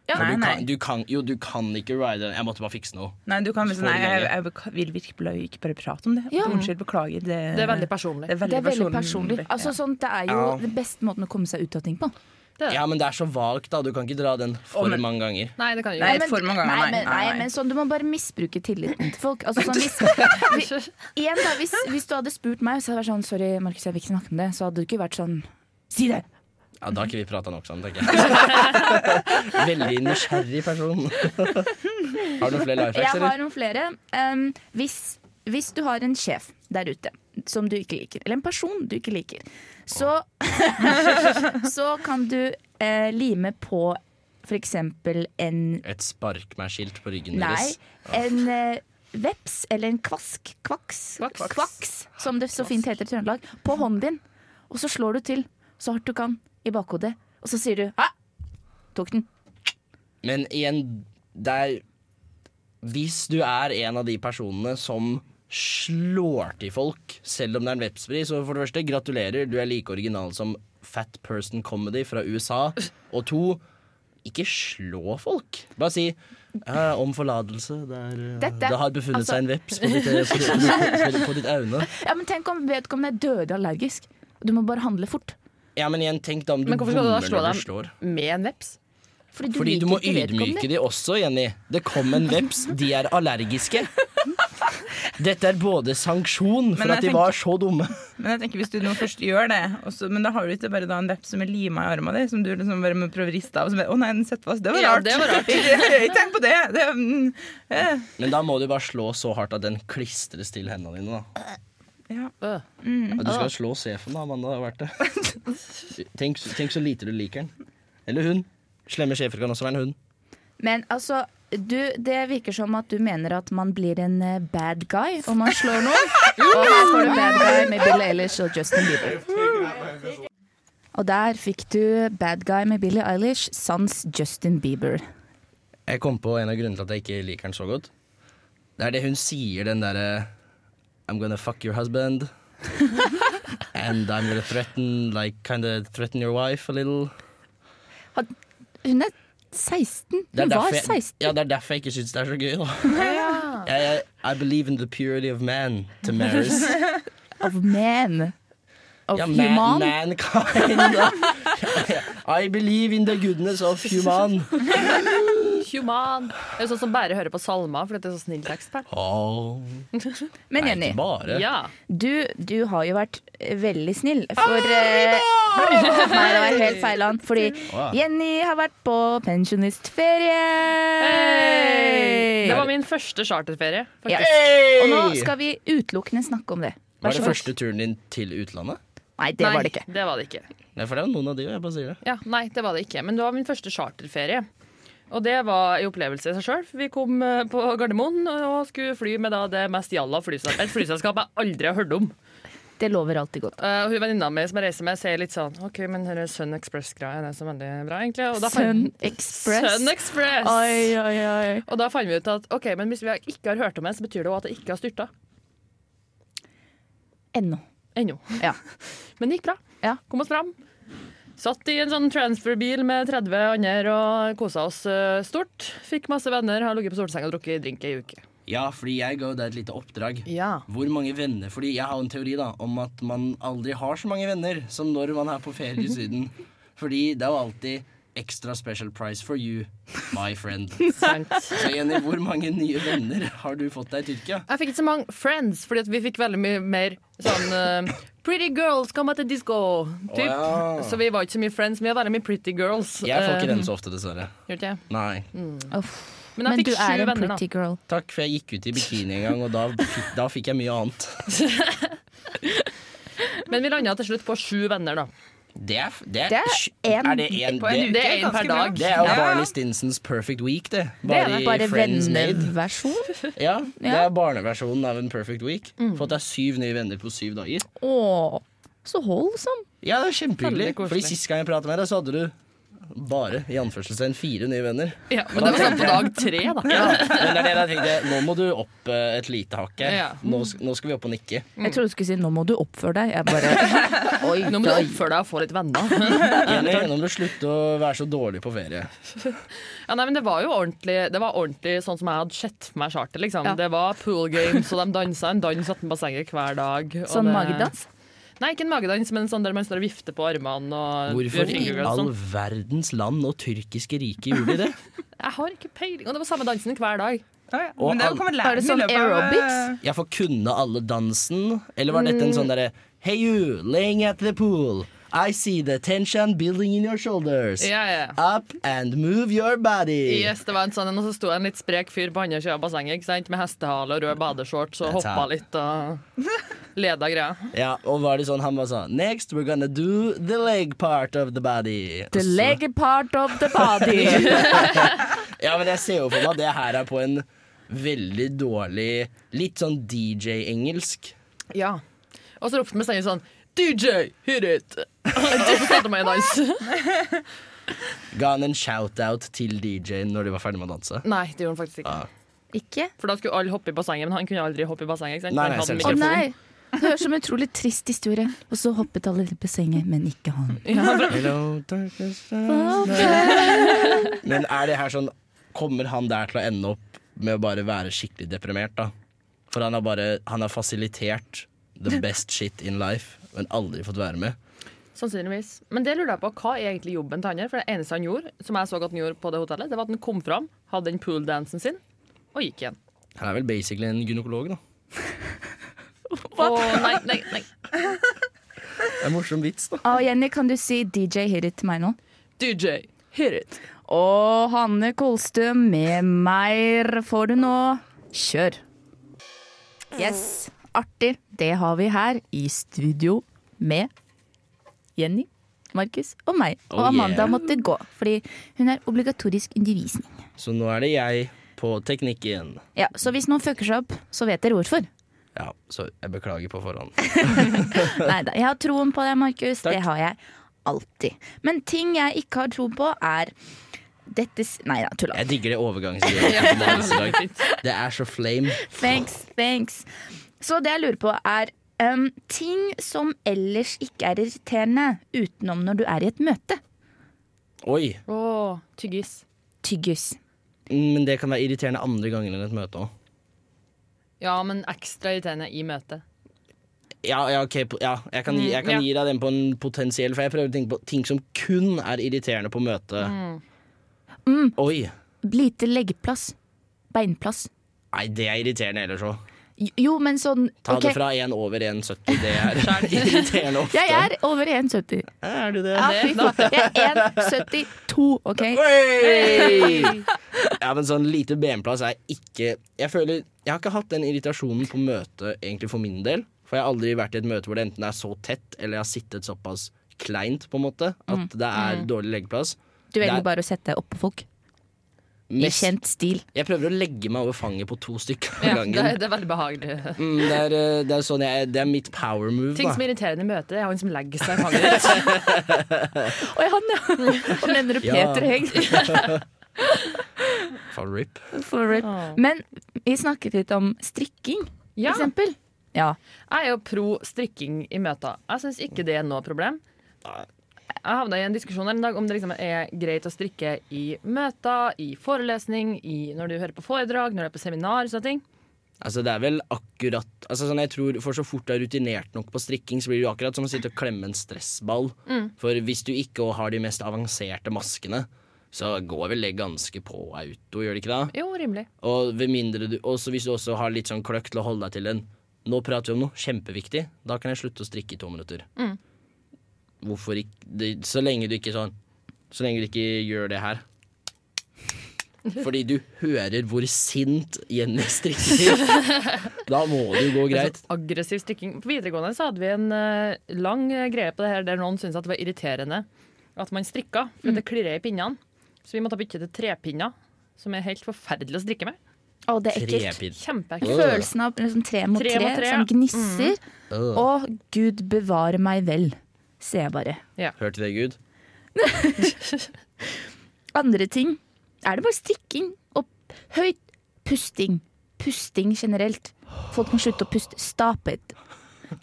Speaker 3: For
Speaker 6: Nei,
Speaker 3: du
Speaker 6: nei.
Speaker 3: kan, du kan, jo, du kan ikke ride den. Jeg måtte bare fikse noe.
Speaker 6: Nei, du kan vel si
Speaker 3: Får
Speaker 6: Nei, jeg,
Speaker 3: lenge.
Speaker 6: jeg, jeg vil virkelig ikke bare prate om det.
Speaker 2: Ja.
Speaker 6: Unnskyld, beklager. Det,
Speaker 5: Det er veldig personlig.
Speaker 6: det er
Speaker 2: Det
Speaker 6: veldig
Speaker 2: er veldig
Speaker 6: personlig.
Speaker 2: personlig. Altså, sånn, det er jo den beste måten å komme seg ut av ting på.
Speaker 3: Ja, men det er så vagt, da. Du kan ikke dra den for
Speaker 6: Å, men-
Speaker 3: mange ganger.
Speaker 5: Nei, det kan jeg
Speaker 6: Nei,
Speaker 5: ikke.
Speaker 2: men-
Speaker 6: for mange ganger, nei,
Speaker 2: men,
Speaker 6: nei,
Speaker 2: nei,
Speaker 6: nei.
Speaker 2: men sånn, du må bare misbruke tilliten til folk. Altså, sånn, hvis, vi, igjen da, hvis, hvis du hadde spurt meg, så hadde jeg vært sånn Sorry, Markus, jeg vil ikke snakke om det. Så hadde du ikke vært sånn Si det!
Speaker 3: Ja, Da har ikke vi prata nok sammen, tenker jeg. Veldig nysgjerrig person. Har du noen flere life hacks,
Speaker 2: Jeg har
Speaker 3: eller?
Speaker 2: noen flere. Um, hvis, hvis du har en sjef der ute som du ikke liker, eller en person du ikke liker, så, så kan du eh, lime på f.eks. en
Speaker 3: Et spark meg-skilt på ryggen
Speaker 2: Nei,
Speaker 3: deres.
Speaker 2: en eh, veps eller en kvask, kvaks, kvaks,
Speaker 5: Kvaks.
Speaker 2: som det så fint heter i Trøndelag, på hånden din. Og så slår du til så hardt du kan i bakhodet, og så sier du «Hæ? Tok den.
Speaker 3: Men igjen, det er Hvis du er en av de personene som slår til folk, selv om det er en vepspris, så for det første, gratulerer. Du er like original som Fat Person Comedy fra USA. Og to, ikke slå folk. Bare si eh, om forlatelse. Det, er, eh,
Speaker 2: Dette-
Speaker 3: det har befunnet
Speaker 2: altså-
Speaker 3: seg en veps på ditt, på ditt, på ditt, på ditt øyne.
Speaker 2: Ja, men tenk om vedkommende er dødelig allergisk. Du må bare handle fort.
Speaker 3: Ja, men igjen, tenk da om du
Speaker 5: Men hvorfor skal du da
Speaker 3: bommer
Speaker 5: slå
Speaker 3: når du
Speaker 5: dem?
Speaker 3: slår.
Speaker 5: Med en veps?
Speaker 2: Fordi du,
Speaker 3: Fordi
Speaker 2: liker
Speaker 3: du må
Speaker 2: ikke vedkommende.
Speaker 3: ydmyke de også, Jenny. Det kom en veps, de er allergiske. Dette er både sanksjon for
Speaker 6: Men
Speaker 3: at
Speaker 6: jeg
Speaker 3: de var så dumme.
Speaker 6: Men jeg tenker hvis du nå først gjør det, og så- men da har du ikke bare da en veps som er lima i armen din, som du liksom bare må prøve å riste av. Og så bare, å nei, den setter fast. Det var
Speaker 5: Ja,
Speaker 6: rart.
Speaker 5: det var rart.
Speaker 6: Ikke Tenk på det. det mm, eh.
Speaker 3: Men da må du bare slå så hardt at den klistres til hendene dine. Da.
Speaker 6: ja.
Speaker 5: Øh.
Speaker 3: Ja, Du
Speaker 2: Ah.
Speaker 3: skal slå sjefen, da, Amanda. Det er verdt det. Tenk, tenk så lite du liker den. Eller hun. Slemme sjefer kan også være en hund.
Speaker 2: Men altså, du, det virker som at du mener at man blir en eh, bad guy om man slår noen. Og her får du bad guy med Bill Eilish og Justin Bieber. Og der fikk du bad guy med Billie Eilish, sans Justin Bieber.
Speaker 3: Jeg kom på en av grunnene til at jeg ikke liker den så godt. Det er det hun sier, den derre I'm gonna fuck your husband. And I'm gonna threaten like kinda threaten your wife a little.
Speaker 2: Han- Hun er 16.
Speaker 3: Det er
Speaker 2: Hun var
Speaker 3: derfor jeg-
Speaker 2: 16.
Speaker 3: Ja, det er derfor jeg ikke syns det er så gøy, da. Jeg, jeg, I believe in the purity of man, Tamaris.
Speaker 2: Of man. Of
Speaker 3: Ja, man,
Speaker 2: human.
Speaker 3: mankind. da. I believe in the goodness of human.
Speaker 5: Human. Det er jo sånn som bare hører på salmer, for det er så snill tekst her.
Speaker 3: Oh,
Speaker 2: Men
Speaker 3: nei,
Speaker 2: Jenny,
Speaker 3: ikke bare.
Speaker 5: Ja.
Speaker 2: du, du har jo vært eh, veldig snill. For eh, Nei, det var helt feil land. Fordi
Speaker 3: Å, ja.
Speaker 2: Jenny har vært på pensjonistferie!
Speaker 5: Det var min første charterferie.
Speaker 2: Ja.
Speaker 5: faktisk.
Speaker 2: Og nå skal vi utelukkende snakke om det.
Speaker 3: Var
Speaker 2: Vær
Speaker 3: det
Speaker 2: så god.
Speaker 3: første turen din til utlandet?
Speaker 2: Nei, det
Speaker 5: Nei,
Speaker 2: var det ikke.
Speaker 5: Det var det ikke.
Speaker 3: Nei, for det er jo noen av de, og jeg bare sier det.
Speaker 5: Ja, nei, det var det ikke. Men det var min første charterferie. Og det var en opplevelse i seg sjøl. Vi kom eh, på Gardermoen og skulle fly med da det mest jalla flyselskapet. Et flyselskap jeg aldri har hørt om.
Speaker 2: Det lover alltid godt.
Speaker 5: Eh, Og hun venninna mi som jeg reiser med, sier litt sånn OK, men her er Sun Express-greia det er så veldig bra, egentlig. Og da
Speaker 2: Sun
Speaker 5: fant-
Speaker 2: Express.
Speaker 5: Sun Express.
Speaker 2: Oi, oi, oi.
Speaker 5: Og da fant vi ut at OK, men hvis vi ikke har hørt om det, så betyr det jo at det ikke har styrta.
Speaker 2: Ennå.
Speaker 5: Ennå.
Speaker 2: Ja.
Speaker 5: Men det gikk bra.
Speaker 2: Ja.
Speaker 5: Kom oss fram. Satt i en sånn transferbil med 30 andre og kosa oss eh, stort. Fikk masse venner, har ligget på solsenga og drukket drink ei uke.
Speaker 3: Ja, fordi jeg ga jo deg et lite oppdrag.
Speaker 5: Ja.
Speaker 3: Hvor mange venner? Fordi jeg har jo en teori da om at man aldri har så mange venner som når man er på ferie i Syden. Fordi det er jo alltid extra special price for you, my friend.
Speaker 5: Sant.
Speaker 3: Så Jenny, hvor mange nye venner har du fått deg i Tyrkia?
Speaker 5: Jeg fikk ikke så mange friends, fordi at vi fikk veldig mye mer sånn eh, Pretty girls, come at the disco. Typ.
Speaker 3: Å, ja.
Speaker 5: Så vi var ikke så mye friends, men vi var veldig mye pretty girls.
Speaker 3: Jeg får
Speaker 5: Eh,
Speaker 3: ikke den så ofte, dessverre.
Speaker 5: gjør ikke jeg?
Speaker 3: Nei.
Speaker 2: Uff.
Speaker 5: Men jeg
Speaker 2: Men
Speaker 5: fikk
Speaker 2: du
Speaker 5: sju
Speaker 2: er en
Speaker 5: venner, da.
Speaker 2: pretty girl.
Speaker 3: Takk, for jeg gikk ut i bikini en gang, og da fikk, da fikk jeg mye annet.
Speaker 5: Men vi landa til slutt på sju venner, da.
Speaker 3: Det er, det er,
Speaker 2: Det er
Speaker 3: sj-
Speaker 2: en-
Speaker 3: er det en,
Speaker 6: På en uke
Speaker 3: det,
Speaker 5: det er
Speaker 6: er
Speaker 5: en per
Speaker 6: ganske
Speaker 5: dag.
Speaker 6: bra.
Speaker 3: det er jo
Speaker 6: Ja.
Speaker 3: Barney Stinsons Perfect Week, det.
Speaker 5: det.
Speaker 3: Bare
Speaker 2: Bare
Speaker 3: i Friends Made.
Speaker 2: venneversjon.
Speaker 3: Ja, det
Speaker 2: Ja.
Speaker 3: er
Speaker 5: Mm.
Speaker 3: barneversjonen av en perfect week. Fått deg syv nye venner på syv dager.
Speaker 2: Å, så holdsom.
Speaker 3: Ja, det var kjempehyggelig.
Speaker 5: Veldig koselig.
Speaker 3: Fordi Sist gang jeg pratet med deg, så hadde du bare i anførselstegn fire nye venner.
Speaker 5: Ja, men det var sånn på dag tre, da.
Speaker 3: Men det er det jeg tenkte, nå må du opp eh, et lite hakk her.
Speaker 5: Ja.
Speaker 3: Nå, sk- nå skal vi opp og nikke.
Speaker 5: Mm.
Speaker 2: Jeg trodde du skulle si 'nå må du oppføre deg'. Jeg bare Oi,
Speaker 5: Nå må du oppføre deg og få litt venner.
Speaker 3: Jenny, nå må du slutte å være så dårlig på ferie.
Speaker 5: Ja, nei, men det var jo ordentlig, det var ordentlig sånn som jeg hadde sett for meg charter. Liksom. Det var pool games, og de dansa en dans utenfor bassenget hver dag. og
Speaker 2: Sånn
Speaker 5: det...
Speaker 2: magedans?
Speaker 5: Nei, ikke en magedans, men sånn der man står og vifter på armene. Og gjør
Speaker 3: Hvorfor i
Speaker 5: fingergirls og
Speaker 3: all
Speaker 5: sånn.
Speaker 3: verdens land og tyrkiske rike gjorde de det?
Speaker 5: Jeg har ikke peiling. Og det var samme dansen hver dag.
Speaker 6: Ja, ja.
Speaker 3: Og
Speaker 6: Men det
Speaker 3: all-
Speaker 6: kan man
Speaker 2: Er
Speaker 6: lære
Speaker 2: det
Speaker 6: den i
Speaker 2: sånn
Speaker 6: løpet av, eh,
Speaker 2: aerobics?
Speaker 3: Jeg får kunne alle dansen, eller var dette en sånn derre Hey you, laying at the pool. I see the tension building in your shoulders.
Speaker 5: Ja, ja.
Speaker 3: Up and move your body.
Speaker 5: Yes, det var en sånn, Og så sto en litt sprek fyr på andre sida av bassenget ikke sant? med hestehale og rød badeshorts og
Speaker 3: That's
Speaker 5: hoppa
Speaker 3: hot.
Speaker 5: litt og leda greia.
Speaker 3: Ja, og var det sånn han bare sånn Next we're gonna do the leg part of the body.
Speaker 2: The
Speaker 3: Og så-
Speaker 2: leg part of the body.
Speaker 3: Ja, men jeg ser jo for meg at det her er på en veldig dårlig Litt sånn DJ-engelsk.
Speaker 5: Ja. Og så ropte vi stengen sånn DJ, hit it! og så starta vi en dans.
Speaker 3: Ga han en shout-out til DJ-en når de var ferdig med å danse?
Speaker 5: Nei, det gjorde han faktisk ikke.
Speaker 2: Ikke?
Speaker 5: For da skulle alle hoppe i bassenget, men han kunne aldri hoppe i bassenget. ikke sant?
Speaker 3: Nei,
Speaker 5: Han
Speaker 3: nei,
Speaker 5: hadde en
Speaker 2: Å
Speaker 3: selvsagt.
Speaker 5: mikrofon.
Speaker 2: nei! Det høres som en utrolig trist historie. Og så hoppet alle i bassenget, men ikke han.
Speaker 3: Hello, darkness. Men er det her sånn Kommer han der til å ende opp med å bare være skikkelig deprimert, da? For han har bare Han har fasilitert the best shit in life, men aldri fått være med.
Speaker 5: Sannsynligvis. Men det lurer jeg på, hva er egentlig jobben til han her? For det eneste han gjorde, som jeg så at han gjorde på det hotellet, det var at han kom fram, hadde den pooldansen sin, og gikk igjen.
Speaker 3: Han er vel basically en gynekolog, da.
Speaker 5: Og nei, nei, nei.
Speaker 3: Det er en morsom vits, da.
Speaker 2: Og Jenny, kan du si DJ hit it til meg nå?
Speaker 5: DJ, hit it.
Speaker 2: Og Hanne Kolstø med Meir får du nå. Kjør. Yes. Artig. Det har vi her i studio med Jenny, Markus og meg. Og
Speaker 3: Oh,
Speaker 2: Amanda
Speaker 3: yeah.
Speaker 2: måtte gå, fordi hun er obligatorisk undervisning.
Speaker 3: Så nå er det jeg på teknikken.
Speaker 2: Ja, Så hvis noen fucker seg opp, så vet dere hvorfor.
Speaker 3: Ja, så jeg beklager på forhånd.
Speaker 2: Neida, Jeg har troen på deg, Markus.
Speaker 3: Takk.
Speaker 2: Det har jeg alltid. Men ting jeg ikke har tro på, er dette s- Nei da, tulla.
Speaker 3: Jeg digger det overgangsgreiet. Det er så flame.
Speaker 2: Thanks, thanks. Så det jeg lurer på er um, ting som ellers ikke er irriterende utenom når du er i et møte.
Speaker 3: Oi.
Speaker 5: Å, tyggis.
Speaker 2: Tyggis.
Speaker 3: Men det kan være irriterende andre ganger enn et møte òg.
Speaker 5: Ja, men ekstra irriterende i møtet.
Speaker 3: Ja, ja, ok, po- Mm, ja, jeg kan, gi, jeg kan
Speaker 5: ja.
Speaker 3: gi deg den på en potensiell, for jeg prøver å tenke på ting som kun er irriterende på møte. Oi.
Speaker 2: Lite leggeplass. Beinplass.
Speaker 3: Nei, det er irriterende ellers òg.
Speaker 2: Jo, Jo, men sånn
Speaker 3: Ta
Speaker 2: ok,
Speaker 3: det fra 1 over 1,70. Det er irriterende ofte.
Speaker 2: Jeg er over 1,70.
Speaker 3: Er du det?
Speaker 2: Ja, fy faen. Jeg er 1,72, OK?
Speaker 3: Hey! Ja, men sånn lite benplass er ikke Jeg føler Jeg har ikke hatt den irritasjonen på møte egentlig for min del. For jeg har aldri vært i et møte hvor det enten er så tett, eller jeg har sittet såpass kleint, på en måte, at det er dårlig leggeplass.
Speaker 2: Du velger
Speaker 3: Der-
Speaker 2: bare å sette deg oppå folk. I
Speaker 3: Mest
Speaker 2: kjent stil.
Speaker 3: Jeg prøver å legge meg over fanget på to stykker av
Speaker 5: Ja, det,
Speaker 3: gangen.
Speaker 5: det er veldig behagelig.
Speaker 3: Mm, det, er, eh, det, er sånn jeg, det er mitt power move.
Speaker 5: Ting som
Speaker 3: Da.
Speaker 5: er irriterende i møtet, er han som legger seg i fanget ditt.
Speaker 2: Oi, han, ja. Og mener du
Speaker 3: Ja.
Speaker 2: Peter Hegg?
Speaker 3: Faen, rip.
Speaker 2: For rip. Men vi snakket litt om strikking, for
Speaker 5: Ja.
Speaker 2: eksempel. Ja.
Speaker 5: Jeg er jo pro strikking i møter. Jeg syns ikke det er noe problem. Jeg havna i en diskusjon her en dag om det liksom er greit å strikke i møter, i forelesning, i når du hører på foredrag, når du er på seminar. sånne ting.
Speaker 3: Altså, det er vel akkurat altså, sånn, jeg tror For så fort du er rutinert nok på strikking, så blir det jo akkurat som å sitte og klemme en stressball. For hvis du ikke har de mest avanserte maskene, så går vel det ganske på auto, gjør det ikke det?
Speaker 5: Jo, rimelig.
Speaker 3: Og ved mindre du, også hvis du også har litt sånn kløkt til å holde deg til den Nå prater vi om noe kjempeviktig, da kan jeg slutte å strikke i to minutter.
Speaker 2: Mm.
Speaker 3: Hvorfor ikke det, Så lenge du ikke sånn Så lenge du ikke gjør det her. Fordi du hører hvor sint Jenny strikker. da må det jo gå greit.
Speaker 5: Så aggressiv strikking. På videregående så hadde vi en eh, lang eh, greie på det her der noen syntes at det var irriterende at man strikka, for det klirrer i pinnene. Så vi måtte bytte til trepinner, som er helt forferdelig å strikke med.
Speaker 2: Å, det er ekkelt.
Speaker 3: Trepinn.
Speaker 5: Kjempeekkelt.
Speaker 2: Følelsen av liksom, tre mot
Speaker 5: Tre
Speaker 2: tre,
Speaker 5: mot tre, ja.
Speaker 2: som gnisser.
Speaker 3: Øh.
Speaker 2: Å, gud bevare meg vel. ser jeg bare.
Speaker 3: Hørte deg Gud?
Speaker 2: Andre ting er det bare strikking og høyt pusting. Pusting generelt. Folk må slutte å puste. Stop it.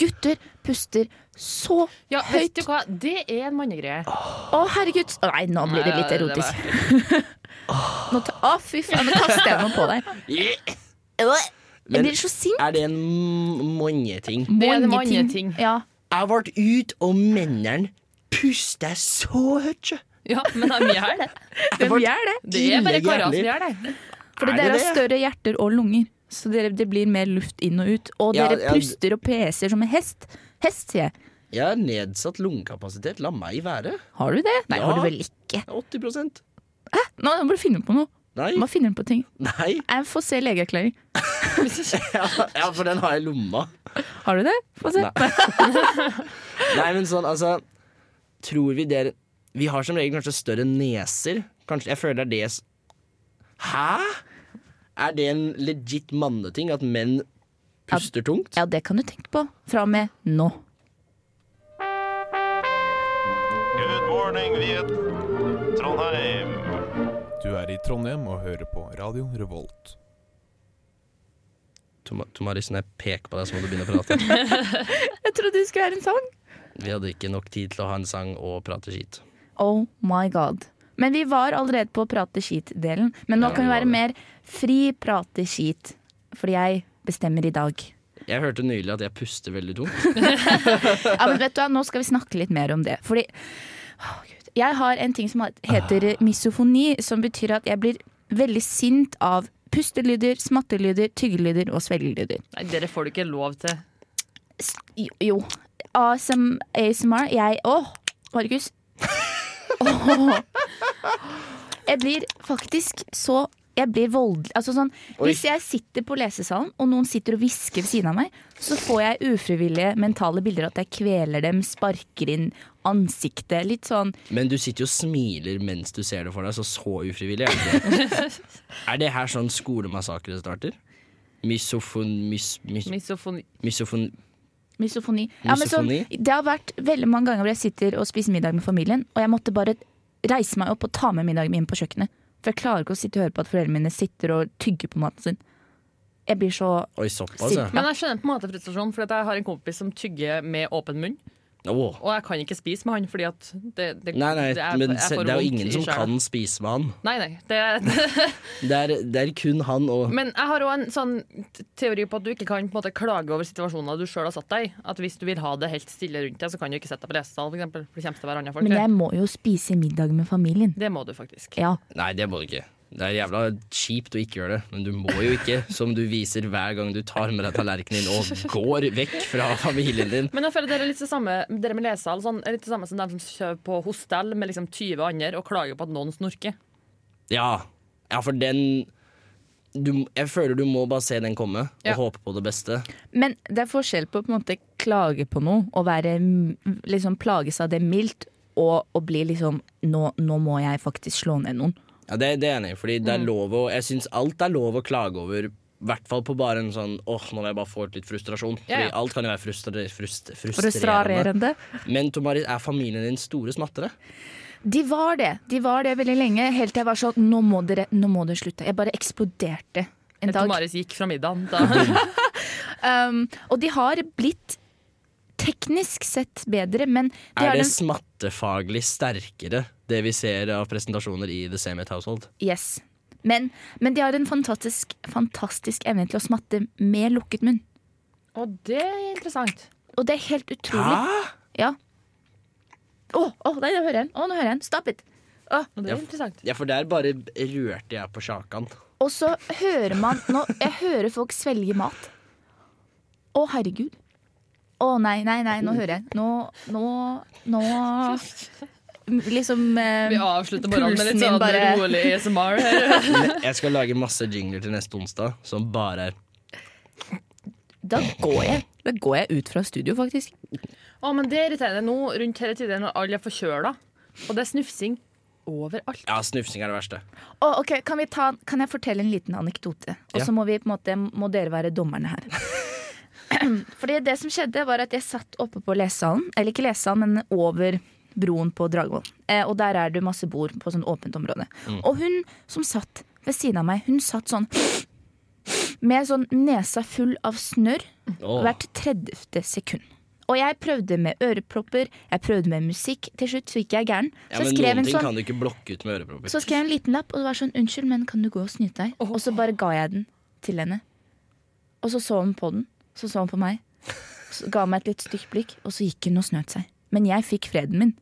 Speaker 2: Gutter puster så
Speaker 5: Ja, vet
Speaker 2: høyt.
Speaker 5: du hva? Det er en mannegreie.
Speaker 2: Å, herregud. Å, Nei, nå blir det
Speaker 5: Nei,
Speaker 2: litt
Speaker 5: det var-
Speaker 2: erotisk. Nå ta, å, fy faen, nå kaster jeg noe på deg. Jeg
Speaker 3: Men-
Speaker 2: blir så sint.
Speaker 3: Er det en manneting?
Speaker 5: Det er det
Speaker 2: Mange
Speaker 5: mange ting.
Speaker 2: Ja.
Speaker 3: Jeg ble ut, og mennene puster så høyt. sjø.
Speaker 5: Ja, men det er mye her, det.
Speaker 2: Hvem gjør det?
Speaker 5: Det er bare
Speaker 3: Ille
Speaker 5: karer som
Speaker 3: jævlig.
Speaker 5: gjør det.
Speaker 2: Fordi
Speaker 3: Er
Speaker 2: dere
Speaker 3: det
Speaker 2: har
Speaker 3: det?
Speaker 2: større hjerter og lunger. Så dere, det blir mer luft inn og ut. Og
Speaker 3: Ja,
Speaker 2: dere
Speaker 3: ja, d-
Speaker 2: puster og peser som en hest. Hest, sier jeg.
Speaker 3: Jeg har nedsatt lungekapasitet. La meg være.
Speaker 2: Har du det? Nei,
Speaker 3: Ja.
Speaker 2: har du vel ikke?
Speaker 3: 80
Speaker 2: Nå må du finne på noe.
Speaker 3: Nei.
Speaker 2: Nå må du finne på ting.
Speaker 3: Nei.
Speaker 2: Jeg får se legeerklæring.
Speaker 3: Ja, ja, for den har jeg i lomma.
Speaker 2: Har du det? Få se.
Speaker 3: Nei. Nei, men sånn, altså Tror vi dere Vi har som regel kanskje større neser. Kanskje, jeg føler det er det s- Hæ? Er det en legit manneting at menn puster tungt?
Speaker 2: Ja, det kan du tenke på. Fra og med nå.
Speaker 8: Good morning, Viet Trondheim.
Speaker 9: Du er i Trondheim og hører på Radio Revolt.
Speaker 3: Tom- Tomaris, når jeg peker på deg, så må du begynne å prate.
Speaker 2: Jeg trodde det skulle være en sånn. sang.
Speaker 3: Vi hadde ikke nok tid til å ha en sang og prate skit.
Speaker 2: Oh my god. Men vi var allerede på prate skit-delen. Men nå
Speaker 3: Ja,
Speaker 2: kan vi
Speaker 3: vi var
Speaker 2: være
Speaker 3: det.
Speaker 2: mer fri prate skit. Fordi jeg bestemmer i dag.
Speaker 3: Jeg hørte nylig at jeg puster veldig tungt.
Speaker 2: Ja, men vet du hva, Nå skal vi snakke litt mer om det. Fordi Åh, Gud. Jeg har en ting som
Speaker 3: Ah.
Speaker 2: heter misofoni, som betyr at jeg blir veldig sint av pustelyder, smattelyder, tyggelyder og svelgelyder.
Speaker 5: Nei, dere får du ikke lov til.
Speaker 2: S- Jo. jo. ASM, ASMR Jeg Åh, Markus. Åh. Jeg blir faktisk så Jeg blir voldelig. Altså sånn,
Speaker 3: Oi.
Speaker 2: hvis jeg sitter på lesesalen, og noen sitter og hvisker ved siden av meg, så får jeg ufrivillige mentale bilder at jeg kveler dem, sparker inn ansiktet. Litt sånn
Speaker 3: Men du sitter jo og smiler mens du ser det for deg, så så ufrivillig er det ikke. Er det her sånn skolemassakre starter? Misofon... Mis, mis,
Speaker 5: Misofoni.
Speaker 3: misofon...
Speaker 2: misofoni. Ja, men sånn,
Speaker 3: Misofoni?
Speaker 2: det har vært veldig mange ganger hvor jeg sitter og spiser middag med familien, og jeg måtte bare reise meg opp og ta med middagen min på kjøkkenet. For jeg klarer ikke å sitte og høre på at foreldrene mine sitter og tygger på maten sin. Jeg blir så
Speaker 3: Oi, såpass, ja.
Speaker 5: Men jeg skjønner på en måte frustrasjonen, for at jeg har en kompis som tygger med åpen munn.
Speaker 3: Åh.
Speaker 5: Og jeg kan ikke spise med han, fordi at det, det,
Speaker 3: Nei, nei,
Speaker 5: det er-
Speaker 3: men
Speaker 5: jeg
Speaker 3: se-
Speaker 5: får
Speaker 3: det er jo
Speaker 5: vondt
Speaker 3: ingen
Speaker 5: i
Speaker 3: som
Speaker 5: sjela.
Speaker 3: kan spise med han.
Speaker 5: Nei, nei. Det,
Speaker 3: Det er, det er kun han og
Speaker 5: men jeg har òg en sånn t- teori på at du ikke kan på en måte, klage over situasjoner du sjøl har satt deg i. At hvis du vil ha det helt stille rundt deg, så kan du ikke sette deg på lesesal, f.eks. For det kommer til hverandre folk.
Speaker 2: Men
Speaker 5: der.
Speaker 2: jeg må jo spise middag med familien.
Speaker 5: Det må du faktisk.
Speaker 2: Ja.
Speaker 3: Nei, det må du ikke. Det er jævla kjipt å ikke gjøre det, men du må jo ikke, som du viser hver gang du tar med deg tallerkenen din og går vekk fra familien din.
Speaker 5: Men jeg føler dere er litt det samme Dere med lesesal sånn, er litt det samme som dem som kjøper på hostell med liksom 20 andre og klager på at noen snorker.
Speaker 3: Ja, ja for den du, Jeg føler du må bare se den komme
Speaker 5: Ja.
Speaker 3: og håpe på det beste.
Speaker 2: Men det er forskjell på å på en måte klage på noe og være mm, liksom plages av det mildt, og, og bli liksom nå, nå må jeg faktisk slå ned noen.
Speaker 3: Ja, det, det er jeg enig i, fordi det
Speaker 2: Mm.
Speaker 3: er lov å Jeg syns alt er lov å klage over. I hvert fall på bare en sånn åh, nå vil jeg bare få ut litt frustrasjon.
Speaker 5: Ja, ja.
Speaker 3: Fordi alt kan jo være frustre, frust, frustrerende.
Speaker 2: Frustrerende.
Speaker 3: Men Tomaris, er familien din store smattere?
Speaker 2: De var det. De var det veldig lenge, helt til jeg var sånn Nå må dere, nå må dere slutte. Jeg bare eksploderte en
Speaker 5: Dag.
Speaker 2: dag.
Speaker 5: Maris gikk fra middagen. Da.
Speaker 2: Um, og de har blitt teknisk sett bedre, men de
Speaker 3: Er
Speaker 2: har
Speaker 3: det
Speaker 2: den
Speaker 3: smattefaglig sterkere, det vi ser av presentasjoner i The Same It Household?
Speaker 2: Yes. Men, men de har en fantastisk, fantastisk evne til å smatte med lukket munn.
Speaker 5: Og det er interessant.
Speaker 2: Og det er helt utrolig. Ja. Å, å, nei, nå hører jeg den. Å, nå hører jeg den. Stop it.
Speaker 5: Og det er interessant.
Speaker 3: Ja, for der bare rørte jeg på sjakan.
Speaker 2: Og så hører man nå, Jeg hører folk svelge mat. Å, herregud. Å, nei, nei, nei, nå hører jeg. Nå, nå, nå Liksom eh,
Speaker 5: Vi avslutter morgenen med
Speaker 2: Pulsen
Speaker 5: litt
Speaker 2: min
Speaker 5: sånn
Speaker 2: bare-
Speaker 5: rolig ASMR. her.
Speaker 3: Jeg skal lage masse jingler til neste onsdag som bare er
Speaker 2: Da går jeg. Da går jeg ut fra studio, faktisk.
Speaker 5: Å, men det irriterer meg nå rundt hele tiden når alle er forkjøla. Og det er snufsing overalt.
Speaker 3: Ja, snufsing er det verste.
Speaker 2: Å, ok, kan, vi ta, kan jeg fortelle en liten anekdote? Og
Speaker 3: Ja.
Speaker 2: så må vi på en måte Må dere være dommerne her. Fordi det som skjedde var at jeg satt oppe på lesesalen, eller ikke lesesalen, men over broen på Dragvoll. Eh, og der er det masse bord på sånn åpent område.
Speaker 3: Mm.
Speaker 2: Og hun som satt ved siden av meg, hun satt sånn med sånn nesa full av snørr
Speaker 3: Åh.
Speaker 2: hvert 30. sekund. Og jeg prøvde med ørepropper, jeg prøvde med musikk. Til slutt så gikk jeg gæren.
Speaker 3: Ja,
Speaker 2: Så
Speaker 3: men
Speaker 2: skrev
Speaker 3: noen
Speaker 2: hun
Speaker 3: ting
Speaker 2: sånn
Speaker 3: kan du ikke blokke ut med ørepropper.
Speaker 2: så skrev jeg en liten lapp, og det var sånn 'Unnskyld, men kan du gå og snyte deg?' Og så bare ga jeg den til henne. Og så så hun på den, så så hun på meg. Så ga hun meg et litt stygt blikk, og så gikk hun og snøt seg. Men jeg fikk freden min.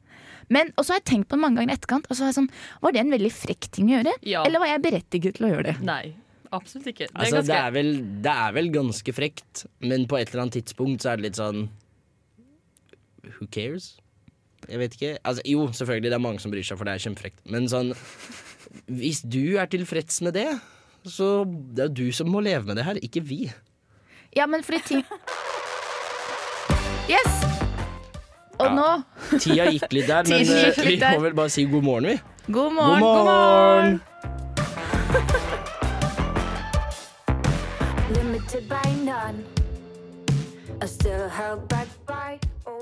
Speaker 2: Men, og så har jeg tenkt på det mange ganger i etterkant. Og så har jeg sånn, Var det en veldig frekk ting å gjøre?
Speaker 5: Ja.
Speaker 2: Eller var jeg berettiget til å gjøre det?
Speaker 5: Nei, absolutt ikke. Det er
Speaker 3: Altså, det,
Speaker 5: ganske
Speaker 3: er vel, det er vel ganske frekt, men på et eller annet tidspunkt så er det litt sånn Who cares? Jeg vet ikke. Altså, jo, selvfølgelig, det er mange som bryr seg, for det er kjempefrekt. Men sånn Hvis du er tilfreds med det, så det er jo du som må leve med det her, ikke vi.
Speaker 2: Ja, men fordi ting Yes! Og
Speaker 3: Ja.
Speaker 2: nå
Speaker 3: Tida gikk litt der, men
Speaker 2: Tiden gikk
Speaker 3: eh, vi
Speaker 2: litt der.
Speaker 3: må vel bare si god morgen, vi.
Speaker 2: God morgen,
Speaker 3: God
Speaker 2: god morgen!
Speaker 10: Limited by none. I still held back by.